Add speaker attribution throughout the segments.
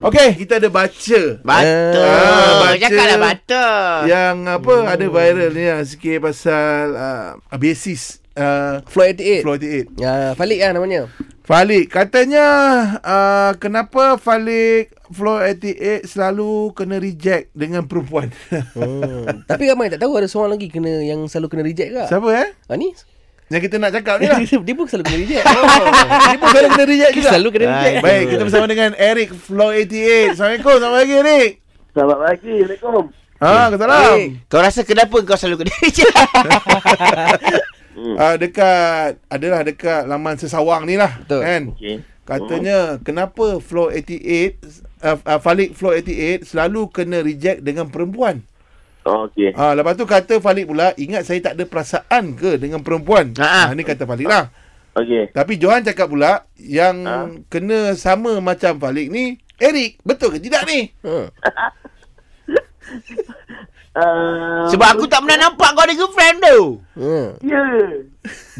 Speaker 1: Okey.
Speaker 2: Kita ada baca
Speaker 3: Betul.
Speaker 2: Ah, baca.
Speaker 3: Cakaplah betul.
Speaker 2: yang apa hmm. ada viral ni lah sikit pasal uh, basis uh,
Speaker 1: Floyd 88.
Speaker 2: Floyd 8.
Speaker 1: Ya, Falik lah namanya.
Speaker 2: Falik katanya uh, kenapa Falik Flow 88 selalu kena reject dengan perempuan. Oh.
Speaker 1: Hmm. Tapi ramai tak tahu ada seorang lagi kena yang selalu kena reject ke.
Speaker 2: Siapa eh?
Speaker 1: Ha ni?
Speaker 2: Yang kita nak cakap ni lah. Oh.
Speaker 1: dia, dia pun selalu kena reject.
Speaker 2: Dia pun selalu kena reject juga.
Speaker 1: selalu kena reject.
Speaker 3: Baik.
Speaker 1: Ah,
Speaker 2: Baik, kita bersama dengan Eric Flow 88. Assalamualaikum, selamat pagi Eric.
Speaker 4: Selamat pagi. Assalamualaikum.
Speaker 2: Ah, ke salam.
Speaker 1: Eric.
Speaker 3: Kau rasa kenapa kau selalu kena reject?
Speaker 2: Ah, dekat adalah dekat laman sesawang ni lah
Speaker 1: Betul.
Speaker 2: kan.
Speaker 4: Okey.
Speaker 2: Katanya kenapa Flow 88 uh, uh, Falik Flow 88 selalu kena reject dengan perempuan.
Speaker 4: Oh, okey.
Speaker 2: Ah, lepas tu kata Falik pula, ingat saya tak ada perasaan ke dengan perempuan?
Speaker 3: Ha, ha.
Speaker 2: Ha, ni kata Falik lah.
Speaker 4: Okey.
Speaker 2: Tapi Johan cakap pula yang
Speaker 4: Ha.
Speaker 2: kena sama macam Falik ni Eric, betul ke tidak ni?
Speaker 1: Ha.
Speaker 4: Uh,
Speaker 3: Sebab aku tak pernah nampak kau ada girlfriend tu.
Speaker 1: Ha.
Speaker 4: Ya.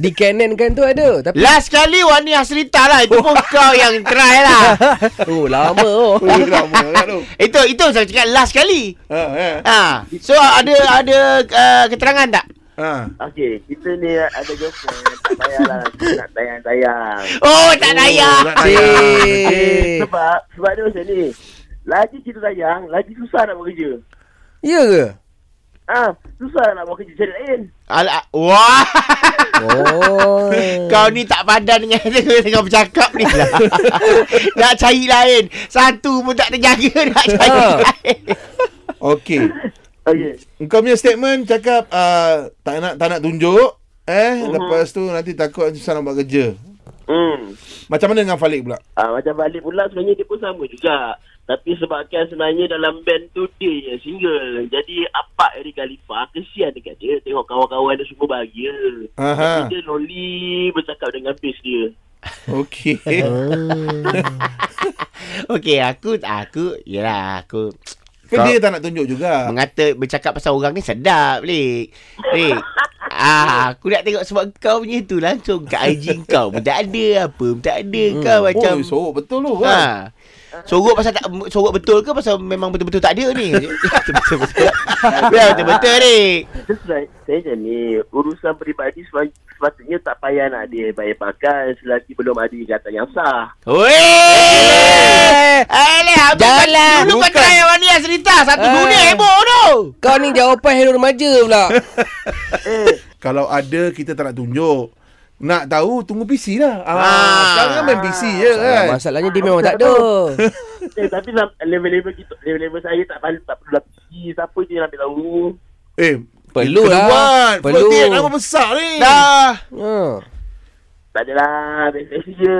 Speaker 1: Di Canon kan tu ada. Tapi
Speaker 3: Last kali Wani Hasrita lah. Itu pun kau yang try lah.
Speaker 1: oh lama oh.
Speaker 2: Oh, lama kan tu.
Speaker 3: Itu itu saya cakap last kali.
Speaker 2: Ha, ha.
Speaker 3: Ha. So ada ada uh, keterangan tak?
Speaker 2: ha.
Speaker 4: Okey. Kita ni ada girlfriend. tak payahlah. Kita nak tayang-tayang.
Speaker 3: Oh tak layak.
Speaker 2: tak layak.
Speaker 1: Cik.
Speaker 4: Sebab, sebab dia macam ni. Lagi kita tayang, lagi susah nak buat kerja.
Speaker 1: Ya ke?
Speaker 4: Ah, susah nak buat kerja cari lain.
Speaker 3: Ala wah.
Speaker 1: Oh.
Speaker 3: Kau ni tak padan dengan dengan bercakap ni lah. nak cari lain. Satu pun tak terjaga nak cari
Speaker 1: Ha.
Speaker 3: lain.
Speaker 2: Okey.
Speaker 4: Okey.
Speaker 2: Engkau punya statement cakap uh, tak nak tak nak tunjuk eh
Speaker 4: Mhm.
Speaker 2: lepas tu nanti takut susah nak buat kerja.
Speaker 4: Hmm.
Speaker 2: Macam mana dengan Falik pula?
Speaker 4: Ah, macam balik pula sebenarnya dia pun sama juga. Tapi sebabkan sebenarnya dalam band tu dia je single. Jadi apa Eric Khalifa kesian dekat dia tengok kawan-kawan dia semua bahagia.
Speaker 2: Aha.
Speaker 4: Tapi dia lonely bercakap dengan face dia.
Speaker 2: Okey.
Speaker 3: Okey aku aku yalah aku
Speaker 2: Ke
Speaker 3: Kau-
Speaker 2: Kan dia tak nak tunjuk juga.
Speaker 3: Ah. mengata bercakap pasal orang ni sedap Lik. Lik. Ah, aku nak tengok sebab kau punya tu langsung kat IG kau pun tak ada apa pun tak ada hmm. kau macam
Speaker 2: oh, sorok betul tu kan.
Speaker 3: Ha. Sorok pasal tak sorok betul ke pasal memang betul-betul tak ada ni? betul betul. Ya betul-betul ni.
Speaker 4: Terus like, saya macam ni, urusan peribadi sepa- sepatutnya tak payah nak dia bayar pakai selagi belum ada ikatan yang sah.
Speaker 3: Weh! Alah, habis
Speaker 1: Jalan.
Speaker 3: kau- Dulu kau
Speaker 1: Bukan.
Speaker 3: try yang Wani cerita satu
Speaker 1: Ah.
Speaker 3: dunia heboh tu.
Speaker 1: Kau ni jawapan hero remaja pula.
Speaker 2: Kalau ada kita tak nak tunjuk. Nak tahu tunggu PC lah. Ah,
Speaker 3: Ah.
Speaker 2: sekarang kan main PC je kan.
Speaker 1: Ah, Masalahnya dia memang tak ada.
Speaker 4: eh, tapi sam- level-level kita, level-level saya tak perlu tak perlu lagi. Siapa je nak ambil tahu.
Speaker 2: Eh,
Speaker 1: Perlu
Speaker 2: kita
Speaker 1: lah.
Speaker 2: buat.
Speaker 1: Perlu.
Speaker 2: Perlu. nama besar ni.
Speaker 3: Dah.
Speaker 1: Ha.
Speaker 4: Tak adalah, biasa je.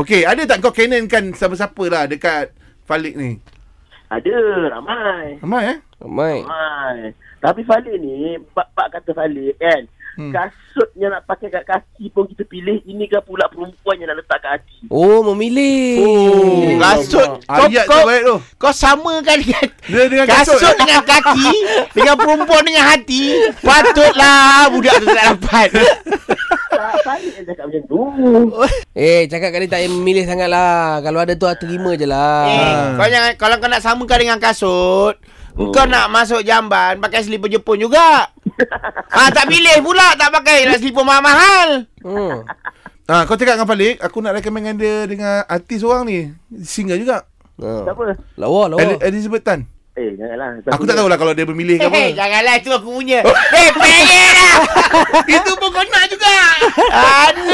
Speaker 2: Okey, ada tak kau canonkan siapa-siapa lah dekat Falik ni?
Speaker 4: Ada, ramai.
Speaker 2: Ramai eh?
Speaker 1: Ramai.
Speaker 4: Hai. Tapi Falik ni, bab-bab kata Falik kan,
Speaker 2: Hmm.
Speaker 4: hmm. kasut yang nak pakai kat kaki pun kita pilih, ini kan pula perempuan yang nak letak kat hati.
Speaker 1: Oh memilih.
Speaker 2: Oh,
Speaker 3: Kasut kau,
Speaker 2: Ayat tu
Speaker 3: kau,
Speaker 2: baik tu.
Speaker 3: kau samakan dengan
Speaker 2: Dia dengan kasut. eh?
Speaker 3: kasut, dengan kaki dengan perempuan dengan hati patutlah budak tu tak dapat.
Speaker 4: Tak, Falik yang cakap macam tu.
Speaker 2: Oh.
Speaker 1: Eh cakap kali tak payah memilih sangat lah. Kalau ada tu ah, terima je
Speaker 3: Eh,
Speaker 1: lah.
Speaker 3: kau jangan kalau kau nak samakan dengan kasut, oh. kau nak masuk jamban pakai slipper Jepun juga. ha, tak pilih pula tak pakai nak slipper mahal-mahal.
Speaker 1: Hmm.
Speaker 2: Ha, kau cakap dengan Falik, aku nak recommend dia dengan artis orang ni. Single juga.
Speaker 1: Ha.
Speaker 4: Siapa?
Speaker 1: Lawa lawa.
Speaker 2: El- Elizabeth Tan.
Speaker 4: Eh, janganlah.
Speaker 2: Aku tak tahulah kalau dia bermilih ke
Speaker 3: Eh,
Speaker 2: apa.
Speaker 3: Oh. janganlah itu aku punya. eh, pengen lah. Itu pun kau nak juga. Aduh.